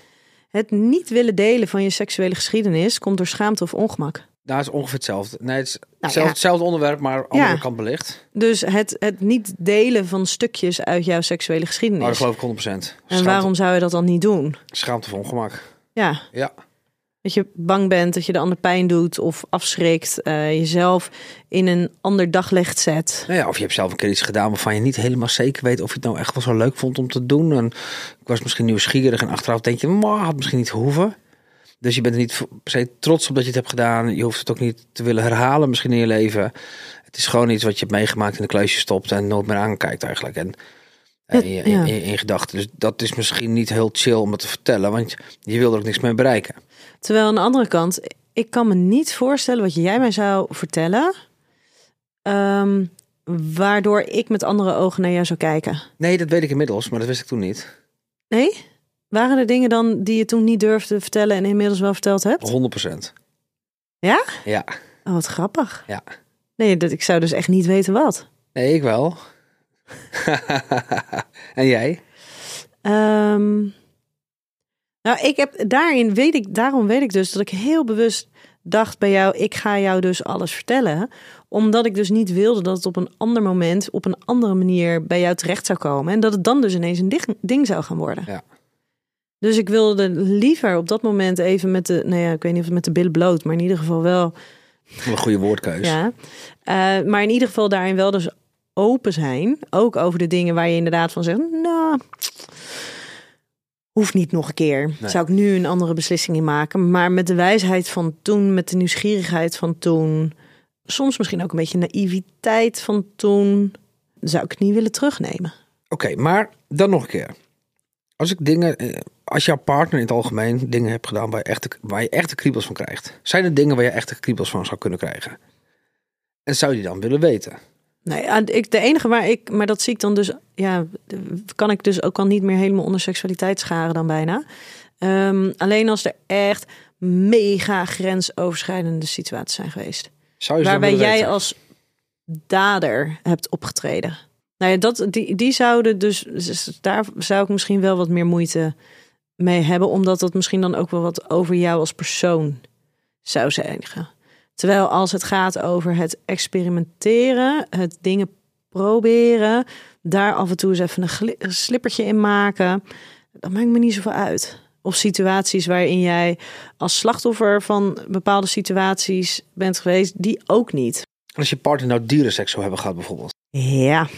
[SPEAKER 3] Het niet willen delen van je seksuele geschiedenis komt door schaamte of ongemak.
[SPEAKER 4] daar is ongeveer hetzelfde. Nee, het is hetzelfde,
[SPEAKER 3] Nou, ja.
[SPEAKER 4] hetzelfde onderwerp, maar andere
[SPEAKER 3] Ja.
[SPEAKER 4] kant belicht.
[SPEAKER 3] Dus het, het niet delen van stukjes uit jouw seksuele
[SPEAKER 4] Maar Oh, dat
[SPEAKER 3] geschiedenis.
[SPEAKER 4] geloof ik 100%. Schaamte,
[SPEAKER 3] en waarom zou je dat dan niet doen?
[SPEAKER 4] Schaamte van ongemak.
[SPEAKER 3] Ja,
[SPEAKER 4] Ja.
[SPEAKER 3] dat je bang bent dat je de ander pijn doet of afschrikt, eh, jezelf in een ander daglicht zet.
[SPEAKER 4] Nou ja, of je hebt zelf een keer iets gedaan waarvan je niet helemaal zeker weet of je het nou echt wel zo leuk vond om te doen. En ik was misschien nieuwsgierig en achteraf denk je, maar had misschien niet gehoeven. Dus je bent er niet voor- per se trots op dat je het hebt gedaan. Je hoeft het ook niet te willen herhalen misschien in je leven. Het is gewoon iets wat je hebt meegemaakt in de kluisje stopt en nooit meer aankijkt eigenlijk. En en
[SPEAKER 3] Ja,
[SPEAKER 4] in, je- in,
[SPEAKER 3] ja.
[SPEAKER 4] in- in gedachten. Dus dat is misschien niet heel chill om het te vertellen, want je wil er ook niks mee bereiken.
[SPEAKER 3] Terwijl aan de andere kant, ik kan me niet voorstellen wat jij mij zou vertellen, ehm, waardoor ik met andere ogen naar jou zou kijken.
[SPEAKER 4] Nee, dat weet ik inmiddels, maar dat wist ik toen niet.
[SPEAKER 3] Nee? Waren er dingen dan die je toen niet durfde vertellen en inmiddels wel verteld hebt?
[SPEAKER 4] 100%.
[SPEAKER 3] Ja?
[SPEAKER 4] Ja,
[SPEAKER 3] Oh, wat grappig.
[SPEAKER 4] ja.
[SPEAKER 3] Nee, dat, ik zou dus echt niet weten wat.
[SPEAKER 4] Nee, ik wel. en jij?
[SPEAKER 3] Ehm, nou, ik heb daarin weet ik, daarom weet ik dus dat ik heel bewust dacht bij jou: ik ga jou dus alles vertellen. Omdat ik dus niet wilde dat het op een ander moment, op een andere manier bij jou terecht zou komen. En dat het dan dus ineens een ding, ding zou gaan worden.
[SPEAKER 4] Ja.
[SPEAKER 3] Dus ik wilde liever op dat moment even met de, nou ja, ik weet niet of het met de billen bloot, maar in ieder geval wel.
[SPEAKER 4] Wat Een goede woordkeus.
[SPEAKER 3] Ja. Eh, maar in ieder geval daarin wel dus open zijn. Ook over de dingen waar je inderdaad van zegt, nou, hoeft niet nog een keer.
[SPEAKER 4] Nee.
[SPEAKER 3] Zou ik nu een andere beslissing in maken. Maar met de wijsheid van toen, met de nieuwsgierigheid van toen. Soms misschien ook een beetje naïviteit van toen. Zou ik het niet willen terugnemen.
[SPEAKER 4] Oké, maar dan nog een keer. Als ik dingen, eh, als jouw partner in het algemeen dingen hebt gedaan waar je echte, waar je echte kriebels van krijgt, zijn er dingen waar je echte kriebels van zou kunnen krijgen? En zou je die dan willen weten?
[SPEAKER 3] Nee, ja, ik, de enige waar ik, maar dat zie ik dan dus, ja, de- kan ik dus ook al niet meer helemaal onder seksualiteit scharen dan bijna. Ehm, alleen als er echt mega grensoverschrijdende situaties zijn geweest.
[SPEAKER 4] Zou je ze dan
[SPEAKER 3] waarbij
[SPEAKER 4] willen
[SPEAKER 3] jij
[SPEAKER 4] weten?
[SPEAKER 3] als dader hebt opgetreden. Nou ja, dat, die, die zouden dus, dus daar zou ik misschien wel wat meer moeite mee hebben, omdat dat misschien dan ook wel wat over jou als persoon zou zeggen. Terwijl als het gaat over het experimenteren, het dingen proberen, daar af en toe eens even een, gli- een slippertje in maken, dat maakt me niet zoveel uit. Of situaties waarin jij als slachtoffer van bepaalde situaties bent geweest, die ook niet.
[SPEAKER 4] Als je partner nou dierenseks zou hebben gehad bijvoorbeeld.
[SPEAKER 3] Ja,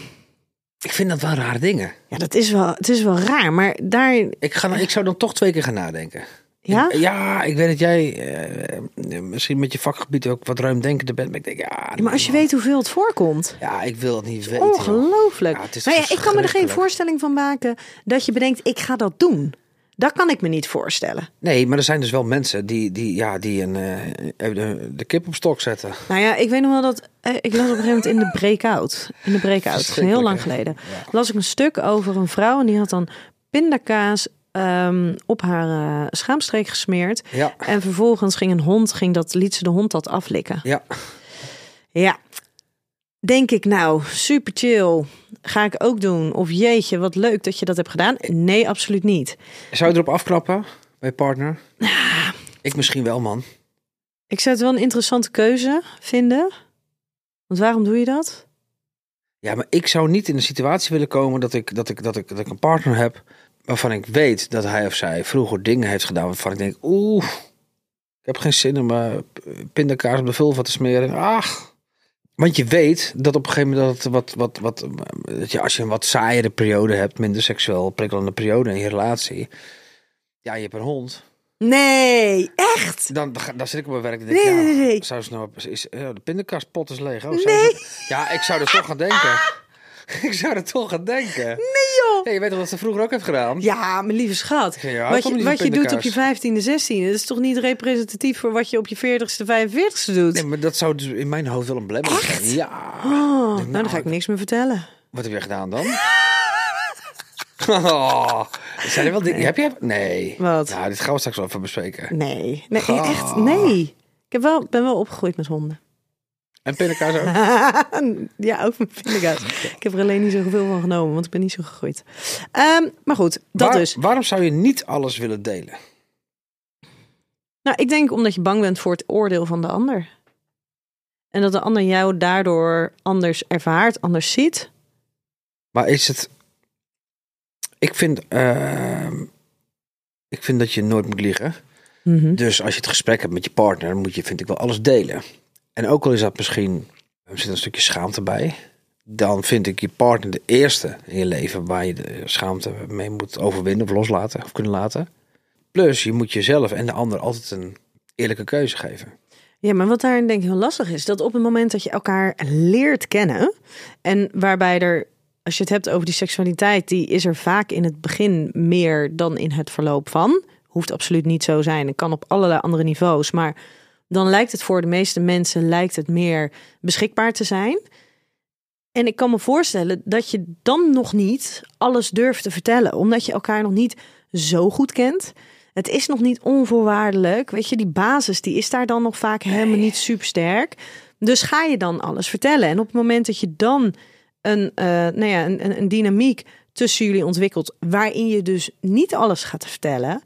[SPEAKER 4] Ik vind dat wel rare dingen.
[SPEAKER 3] ja dat is wel, het is wel raar, maar daar,
[SPEAKER 4] Ik, ga, dan- ik zou dan toch twee keer gaan nadenken.
[SPEAKER 3] ja?
[SPEAKER 4] Ik- ja, ik weet dat jij eh, eh, misschien met je vakgebied ook wat ruimdenkender bent. Maar ik denk, ja...
[SPEAKER 3] Maar als je weet hoeveel het voorkomt.
[SPEAKER 4] Ja, ik wil dat niet weten. joh.
[SPEAKER 3] Ongelooflijk.
[SPEAKER 4] Ja, het is
[SPEAKER 3] maar ja, ik kan me er geen
[SPEAKER 4] verschrikkelijk.
[SPEAKER 3] voorstelling van maken dat je bedenkt, ik ga dat doen. Dat kan ik me niet voorstellen.
[SPEAKER 4] Nee, maar er zijn dus wel mensen die, die, ja, die een, eh, even de, de kip op stok zetten.
[SPEAKER 3] Nou ja, ik weet nog wel dat. eh, Ik las op een gegeven moment in de breakout. In de breakout, heel lang
[SPEAKER 4] hè?
[SPEAKER 3] geleden. Las ik een stuk over een vrouw en die had dan pindakaas ehm, op haar eh, schaamstreek gesmeerd.
[SPEAKER 4] Ja.
[SPEAKER 3] En vervolgens ging een hond, ging dat, liet ze de hond dat aflikken.
[SPEAKER 4] Ja,
[SPEAKER 3] Ja. Denk ik nou, super chill. Ga ik ook doen. Of jeetje, wat leuk dat je dat hebt gedaan. Nee, absoluut niet.
[SPEAKER 4] zou je erop afknappen bij je partner? Ik misschien wel, man.
[SPEAKER 3] Ik zou het wel een interessante keuze vinden. Want waarom doe je dat?
[SPEAKER 4] Ja, maar ik zou niet in de situatie willen komen dat ik, dat ik, dat ik, dat ik een partner heb waarvan ik weet dat hij of zij vroeger dingen heeft gedaan waarvan ik denk, oeh, ik heb geen zin om eh, pindakaas op de vulva te smeren. Ach, Want je weet dat op een gegeven moment dat, het wat, wat, wat, eh, dat je als je een wat saaiere periode hebt, minder seksueel prikkelende periode in je relatie. Ja, je hebt een hond.
[SPEAKER 3] Nee, echt?
[SPEAKER 4] Dan, dan, zit ik op mijn werk en denk
[SPEAKER 3] Nee,
[SPEAKER 4] ja,
[SPEAKER 3] nee, nee.
[SPEAKER 4] zou ze nou, is, ja, de pindakastpot is leeg. Oh, zou
[SPEAKER 3] Nee. Ah.
[SPEAKER 4] ze- ja, ik zou er toch gaan denken. ik zou er toch gaan denken.
[SPEAKER 3] Nee, joh.
[SPEAKER 4] Ja, je weet toch wat ze vroeger ook heeft gedaan?
[SPEAKER 3] Ja, mijn lieve schat.
[SPEAKER 4] Ja, kom
[SPEAKER 3] wat
[SPEAKER 4] niet
[SPEAKER 3] je,
[SPEAKER 4] op
[SPEAKER 3] wat je doet op je
[SPEAKER 4] pindakaas.
[SPEAKER 3] 15e, 16e, dat is toch niet representatief voor wat je op je 40ste, 45ste doet?
[SPEAKER 4] Nee, maar dat zou dus in mijn hoofd wel een blemmel zijn. Ja.
[SPEAKER 3] Oh,
[SPEAKER 4] Ik denk,
[SPEAKER 3] nou, dan ga ik niks meer vertellen.
[SPEAKER 4] Wat heb jij gedaan dan? Oh, zijn er wel dingen? Heb je? Nee.
[SPEAKER 3] Wat?
[SPEAKER 4] Nou, dit gaan we straks wel even bespreken.
[SPEAKER 3] Nee, nee echt, nee. Ik heb wel, ben wel opgegroeid met honden.
[SPEAKER 4] En pindakaas ook?
[SPEAKER 3] ja, ook met pindakaas. Ik heb er alleen niet zoveel van genomen, want ik ben niet zo gegroeid. Ehm, maar goed, dat
[SPEAKER 4] Waar-
[SPEAKER 3] dus.
[SPEAKER 4] Waarom zou je niet alles willen delen?
[SPEAKER 3] Nou, ik denk omdat je bang bent voor het oordeel van de ander. En dat de ander jou daardoor anders ervaart, anders ziet.
[SPEAKER 4] Maar is het... Ik vind... ehm, Ik vind dat je nooit moet liegen.
[SPEAKER 3] Mhm.
[SPEAKER 4] Dus als je het gesprek hebt met je partner, dan moet je, vind ik wel, alles delen. En ook al is dat misschien, er zit een stukje schaamte bij, dan vind ik je partner de eerste in je leven waar je de schaamte mee moet overwinnen of loslaten of kunnen laten. Plus, je moet jezelf en de ander altijd een eerlijke keuze geven.
[SPEAKER 3] Ja, maar wat daarin denk ik heel lastig is, dat op het moment dat je elkaar leert kennen en waarbij er, als je het hebt over die seksualiteit, die is er vaak in het begin meer dan in het verloop van. Hoeft absoluut niet zo zijn. Het kan op allerlei andere niveaus, maar dan lijkt het voor de meeste mensen lijkt het meer beschikbaar te zijn. En ik kan me voorstellen dat je dan nog niet alles durft te vertellen, omdat je elkaar nog niet zo goed kent. Het is nog niet onvoorwaardelijk. Weet je, die basis die is daar dan nog vaak helemaal niet super sterk. Dus ga je dan alles vertellen. En op het moment dat je dan een, eh, nou ja, een, een- een dynamiek tussen jullie ontwikkelt, waarin je dus niet alles gaat vertellen,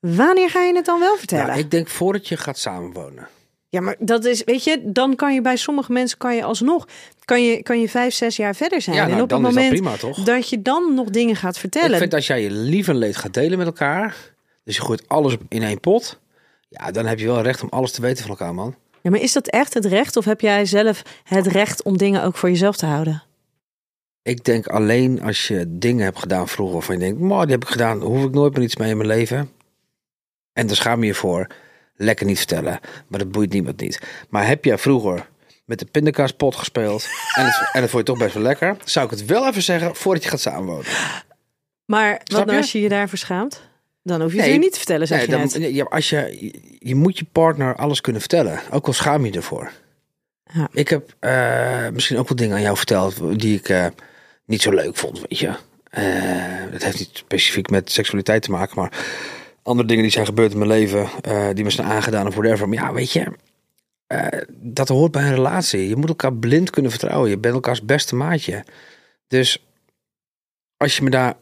[SPEAKER 3] wanneer ga je het dan wel vertellen?
[SPEAKER 4] Nou, ik denk voordat je gaat samenwonen.
[SPEAKER 3] Ja, maar dat is, weet je, dan kan je bij sommige mensen kan je alsnog, kan je, kan je vijf, zes jaar verder zijn.
[SPEAKER 4] Ja, nou,
[SPEAKER 3] en op
[SPEAKER 4] dan
[SPEAKER 3] het
[SPEAKER 4] is dat
[SPEAKER 3] moment
[SPEAKER 4] prima, toch?
[SPEAKER 3] dat je dan nog dingen gaat vertellen.
[SPEAKER 4] Ik vind als jij je lief en leed gaat delen met elkaar, dus je gooit alles in één pot, ja, dan heb je wel recht om alles te weten van elkaar, man.
[SPEAKER 3] Ja, maar is dat echt het recht of heb jij zelf het recht om dingen ook voor jezelf te houden?
[SPEAKER 4] Ik denk alleen als je dingen hebt gedaan vroeger waarvan je denkt, maar die heb ik gedaan, daar hoef ik nooit meer iets mee in mijn leven. En daar schaam je je voor. Lekker niet vertellen, maar dat boeit niemand niet. Maar heb jij vroeger met de pindakaaspot gespeeld en het, en het vond je toch best wel lekker, zou ik het wel even zeggen voordat je gaat samenwonen.
[SPEAKER 3] Maar wat
[SPEAKER 4] Snap
[SPEAKER 3] nou
[SPEAKER 4] je?
[SPEAKER 3] als je je daarvoor schaamt? Dan hoef je het
[SPEAKER 4] Nee,
[SPEAKER 3] weer niet te vertellen, zeg
[SPEAKER 4] Nee,
[SPEAKER 3] je
[SPEAKER 4] dan-
[SPEAKER 3] net.
[SPEAKER 4] ja, als je, je moet je partner alles kunnen vertellen, ook al schaam je je ervoor.
[SPEAKER 3] Ja.
[SPEAKER 4] Ik heb eh, misschien ook wel dingen aan jou verteld die ik eh, niet zo leuk vond, weet je. Eh, dat heeft niet specifiek met seksualiteit te maken, maar andere dingen die zijn gebeurd in mijn leven, eh, die me zijn aangedaan of whatever. Maar ja, weet je, eh, dat hoort bij een relatie. Je moet elkaar blind kunnen vertrouwen. Je bent elkaars beste maatje. Dus als je me daar,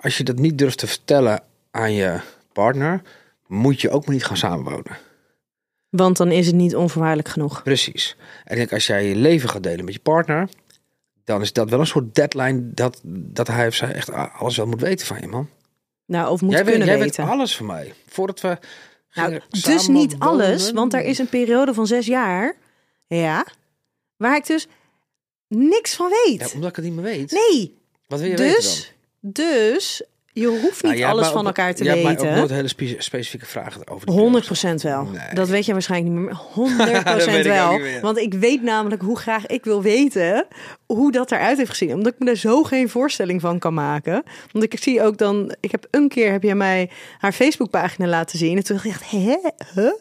[SPEAKER 4] als je dat niet durft te vertellen aan je partner, moet je ook maar niet gaan samenwonen.
[SPEAKER 3] Want dan is het niet onvoorwaardelijk genoeg.
[SPEAKER 4] Precies. En ik denk, als jij je leven gaat delen met je partner, dan is dat wel een soort deadline dat, dat hij of zij echt a- alles wel moet weten van je, man.
[SPEAKER 3] Nou, of moet
[SPEAKER 4] jij weet,
[SPEAKER 3] kunnen
[SPEAKER 4] jij
[SPEAKER 3] weten.
[SPEAKER 4] weet alles van mij. Voordat we.
[SPEAKER 3] Nou,
[SPEAKER 4] gingen
[SPEAKER 3] dus
[SPEAKER 4] samen
[SPEAKER 3] niet
[SPEAKER 4] wonen.
[SPEAKER 3] alles, want er is een periode van zes jaar, ja, waar ik dus niks van weet.
[SPEAKER 4] Ja, omdat ik het niet meer weet.
[SPEAKER 3] Nee,
[SPEAKER 4] Wat wil je weten dan?
[SPEAKER 3] Dus, dus je hoeft niet
[SPEAKER 4] Nou, jij hebt
[SPEAKER 3] alles
[SPEAKER 4] mij
[SPEAKER 3] van
[SPEAKER 4] ook-
[SPEAKER 3] elkaar te
[SPEAKER 4] jij hebt mij ook
[SPEAKER 3] weten.
[SPEAKER 4] nooit hele spe- specifieke vragen over. die
[SPEAKER 3] 100% wel.
[SPEAKER 4] Nee.
[SPEAKER 3] Dat weet je waarschijnlijk niet meer. maar
[SPEAKER 4] Dat
[SPEAKER 3] 100%
[SPEAKER 4] weet ik ook
[SPEAKER 3] wel.
[SPEAKER 4] niet meer.
[SPEAKER 3] Want ik weet namelijk hoe graag ik wil weten hoe dat eruit heeft gezien. Omdat ik me daar zo geen voorstelling van kan maken. Want ik zie ook dan, ik heb een keer heb jij mij haar Facebookpagina laten zien. En toen dacht ik echt, hè? Huh?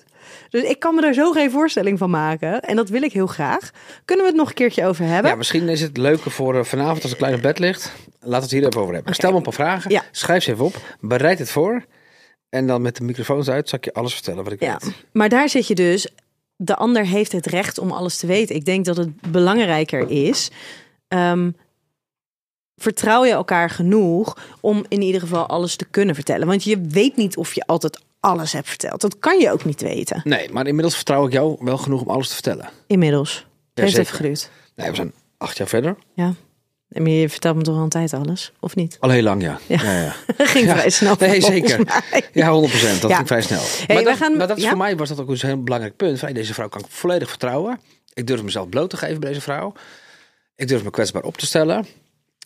[SPEAKER 3] Dus ik kan me daar zo geen voorstelling van maken. En dat wil ik heel graag. Kunnen we het nog een keertje over hebben?
[SPEAKER 4] Ja, misschien is het leuker voor eh, vanavond als ik klein op bed ligt. Laat het hier even over hebben. Stel me een paar vragen.
[SPEAKER 3] Ja.
[SPEAKER 4] Schrijf ze even op. Bereid het voor. En dan met de microfoons uit zal ik je alles vertellen wat ik
[SPEAKER 3] Ja,
[SPEAKER 4] weet.
[SPEAKER 3] maar daar zit je dus. De ander heeft het recht om alles te weten. Ik denk dat het belangrijker is. ehm, vertrouw je elkaar genoeg om in ieder geval alles te kunnen vertellen? Want je weet niet of je altijd alles hebt verteld. Dat kan je ook niet weten.
[SPEAKER 4] Nee, maar inmiddels vertrouw ik jou wel genoeg om alles te vertellen.
[SPEAKER 3] Inmiddels. Het heeft
[SPEAKER 4] zeker.
[SPEAKER 3] even geduurd.
[SPEAKER 4] Nee, we zijn acht jaar verder.
[SPEAKER 3] Ja. En maar je vertelt me toch al een tijd alles, of niet?
[SPEAKER 4] Al heel lang, ja.
[SPEAKER 3] Ja.
[SPEAKER 4] ja, ja.
[SPEAKER 3] Dat ging
[SPEAKER 4] Ja.
[SPEAKER 3] vrij snel.
[SPEAKER 4] Nee,
[SPEAKER 3] volgens
[SPEAKER 4] zeker.
[SPEAKER 3] mij.
[SPEAKER 4] Ja, 100 procent. Dat
[SPEAKER 3] Ja.
[SPEAKER 4] ging vrij snel.
[SPEAKER 3] wij
[SPEAKER 4] maar, dat,
[SPEAKER 3] gaan-
[SPEAKER 4] maar dat is
[SPEAKER 3] ja?
[SPEAKER 4] voor mij was dat ook een heel belangrijk punt. Van, hey, Deze vrouw kan ik volledig vertrouwen. Ik durf mezelf bloot te geven bij deze vrouw. Ik durf me kwetsbaar op te stellen.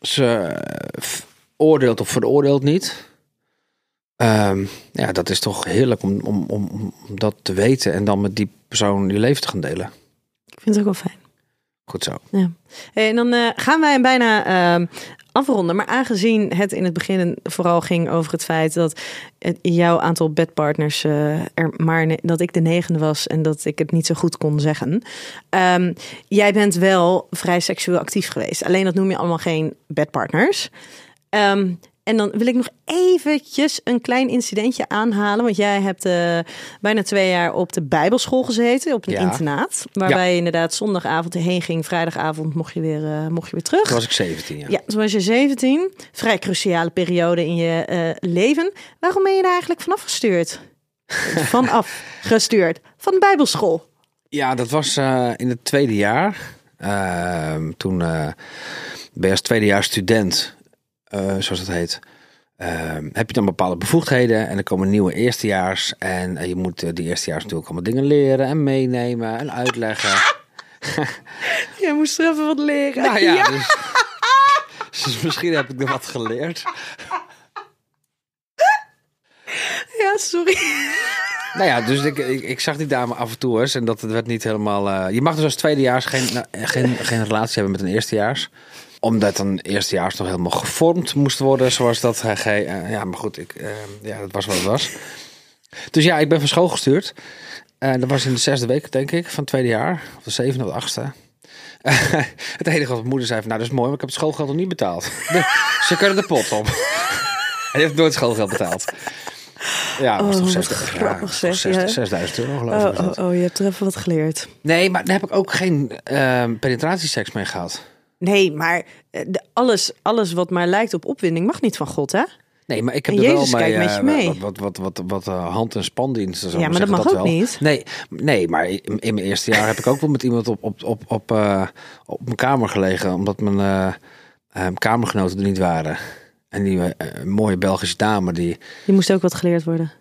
[SPEAKER 4] Ze eh, f- oordeelt of veroordeelt niet. Ehm, ja, dat is toch heerlijk om, om, om, om dat te weten en dan met die persoon je leven te gaan delen.
[SPEAKER 3] Ik vind het ook wel fijn.
[SPEAKER 4] Goed zo.
[SPEAKER 3] Hey, en dan eh, gaan wij hem bijna ehm, afronden. Maar aangezien het in het begin vooral ging over het feit dat het- jouw aantal bedpartners eh, er maar ne- dat ik de negende was en dat ik het niet zo goed kon zeggen. Ehm, jij bent wel vrij seksueel actief geweest. Alleen dat noem je allemaal geen bedpartners. Ehm, en dan wil ik nog eventjes een klein incidentje aanhalen. Want jij hebt eh, bijna twee jaar op de Bijbelschool gezeten, op een
[SPEAKER 4] Ja.
[SPEAKER 3] internaat. Waarbij je inderdaad zondagavond heen ging, vrijdagavond mocht je weer, eh, mocht je weer terug.
[SPEAKER 4] Toen was ik 17 jaar.
[SPEAKER 3] Ja, toen was je 17. Vrij cruciale periode in je eh, leven. Waarom ben je daar eigenlijk vanaf gestuurd? Vanaf gestuurd. Van de Bijbelschool.
[SPEAKER 4] Ja, dat was eh, in het tweede jaar. Ehm, toen eh, ben je als tweedejaars student, eh, zoals dat heet. ehm, heb je dan bepaalde bevoegdheden en er komen nieuwe eerstejaars. En eh, je moet eh, die eerstejaars natuurlijk allemaal dingen leren en meenemen en uitleggen.
[SPEAKER 3] Je moest er even wat leren.
[SPEAKER 4] Nou ja, Dus, dus misschien heb ik er wat geleerd.
[SPEAKER 3] Ja, sorry.
[SPEAKER 4] Nou ja, dus ik, ik, ik zag die dame af en toe eens en dat het werd niet helemaal... eh, je mag dus als tweedejaars geen, nou, eh, geen, geen relatie hebben met een eerstejaars. Omdat een eerstejaars nog helemaal gevormd moest worden, zoals dat hij... ge- eh, ja, maar goed, ik, eh, ja, dat was wat het was. Dus ja, ik ben van school gestuurd. En dat was in de zesde week, denk ik, van het tweede jaar. Of de zevende of de achtste. het enige wat mijn moeder zei van, nou dat is mooi, maar ik heb het schoolgeld nog niet betaald. Ze kunnen de pot op. Hij heeft nooit schoolgeld betaald. Ja, dat was
[SPEAKER 3] Oh,
[SPEAKER 4] toch
[SPEAKER 3] wat
[SPEAKER 4] 60, ja,
[SPEAKER 3] grappig
[SPEAKER 4] dat was
[SPEAKER 3] zeg,
[SPEAKER 4] toch 60
[SPEAKER 3] ja.
[SPEAKER 4] 6000 euro geloof
[SPEAKER 3] Oh,
[SPEAKER 4] ik. was
[SPEAKER 3] oh,
[SPEAKER 4] het.
[SPEAKER 3] oh, je hebt er even wat geleerd.
[SPEAKER 4] Nee, maar daar heb ik ook geen ehm penetratieseks mee gehad.
[SPEAKER 3] Nee, maar eh, de- alles, alles wat maar lijkt op opwinding mag niet van God, hè?
[SPEAKER 4] Nee, maar ik heb
[SPEAKER 3] En
[SPEAKER 4] er
[SPEAKER 3] Jezus
[SPEAKER 4] wel
[SPEAKER 3] kijkt
[SPEAKER 4] mee,
[SPEAKER 3] met je
[SPEAKER 4] eh,
[SPEAKER 3] mee.
[SPEAKER 4] wat, wat, wat, wat, wat eh, hand- en spandiensten. zal
[SPEAKER 3] Ja,
[SPEAKER 4] ik
[SPEAKER 3] maar dat
[SPEAKER 4] zeggen,
[SPEAKER 3] mag ook
[SPEAKER 4] wel.
[SPEAKER 3] niet.
[SPEAKER 4] Nee, nee maar in, in mijn eerste jaar heb ik ook wel met iemand op, op, op, op, eh, op mijn kamer gelegen. Omdat mijn eh, eh, kamergenoten er niet waren. En die eh, mooie Belgische dame, die,
[SPEAKER 3] Je moest ook wat geleerd worden.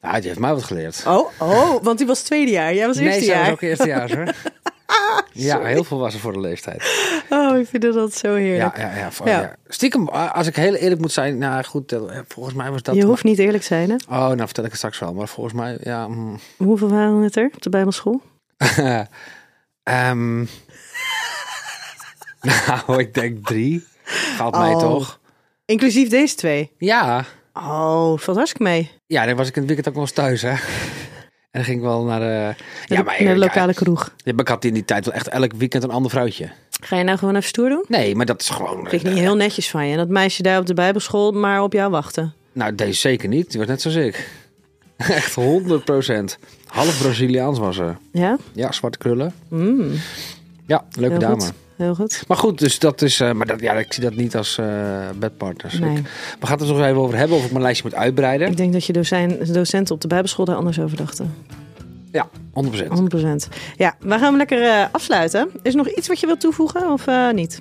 [SPEAKER 4] nou, die heeft mij wat geleerd.
[SPEAKER 3] Oh, oh, want die was tweede jaar. Jij was
[SPEAKER 4] nee,
[SPEAKER 3] eerste
[SPEAKER 4] zij was
[SPEAKER 3] jaar.
[SPEAKER 4] ook eerstejaars hoor. ja, heel veel was er voor de leeftijd.
[SPEAKER 3] Oh, ik vind dat zo
[SPEAKER 4] Ja,
[SPEAKER 3] heerlijk.
[SPEAKER 4] ja, ja, voor-
[SPEAKER 3] Ja.
[SPEAKER 4] ja. Stiekem, eh, als ik heel eerlijk moet zijn, nou goed, eh, volgens mij was dat...
[SPEAKER 3] je hoeft niet eerlijk te zijn, hè?
[SPEAKER 4] Oh, nou vertel ik het straks wel, maar volgens mij, ja... mm.
[SPEAKER 3] Hoeveel waren het er op de Bijbelschool?
[SPEAKER 4] Ehm, nou, ik denk drie. Gaat mij
[SPEAKER 3] Oh.
[SPEAKER 4] toch?
[SPEAKER 3] Inclusief deze twee.
[SPEAKER 4] Ja.
[SPEAKER 3] Oh, valt hartstikke mee.
[SPEAKER 4] Ja, dan was ik in het weekend ook nog eens thuis, hè. En dan ging ik wel naar de... Ja, maar
[SPEAKER 3] Naar de
[SPEAKER 4] ik-
[SPEAKER 3] lokale kroeg.
[SPEAKER 4] ja, maar ik had in die tijd wel echt elk weekend een ander vrouwtje.
[SPEAKER 3] Ga je nou gewoon even stoer doen?
[SPEAKER 4] Nee, maar dat is gewoon...
[SPEAKER 3] Vind ik niet heel netjes van je. Dat meisje daar op de Bijbelschool maar op jou wachten.
[SPEAKER 4] Nou, deze zeker niet. Die was net zoals ik. Echt 100 Half Braziliaans was ze.
[SPEAKER 3] Ja?
[SPEAKER 4] Ja, zwarte krullen.
[SPEAKER 3] Mm,
[SPEAKER 4] Ja, leuke
[SPEAKER 3] heel
[SPEAKER 4] dame.
[SPEAKER 3] goed. Heel goed.
[SPEAKER 4] Maar goed, dus dat is. eh, maar dat, ja, ik zie dat niet als eh, bedpartners.
[SPEAKER 3] Nee.
[SPEAKER 4] Ik- we gaan het er nog even over hebben of ik mijn lijstje moet uitbreiden.
[SPEAKER 3] Ik denk dat je docijn- docenten op de Bijbelschool daar anders over dachten.
[SPEAKER 4] Ja, 100%.
[SPEAKER 3] 100%. Ja, we gaan hem lekker eh, afsluiten. Is er nog iets wat je wilt toevoegen of eh, niet?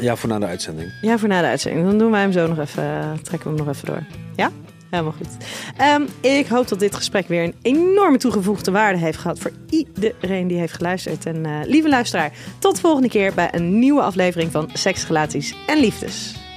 [SPEAKER 4] Ja, voor na de uitzending.
[SPEAKER 3] Ja, voor na de uitzending. Dan doen wij hem zo nog even, eh, trekken we hem nog even door. Ja? Helemaal goed. Ehm, ik hoop dat dit gesprek weer een enorme toegevoegde waarde heeft gehad voor iedereen die heeft geluisterd. En eh, lieve luisteraar, tot de volgende keer bij een nieuwe aflevering van Seks, Relaties en Liefdes.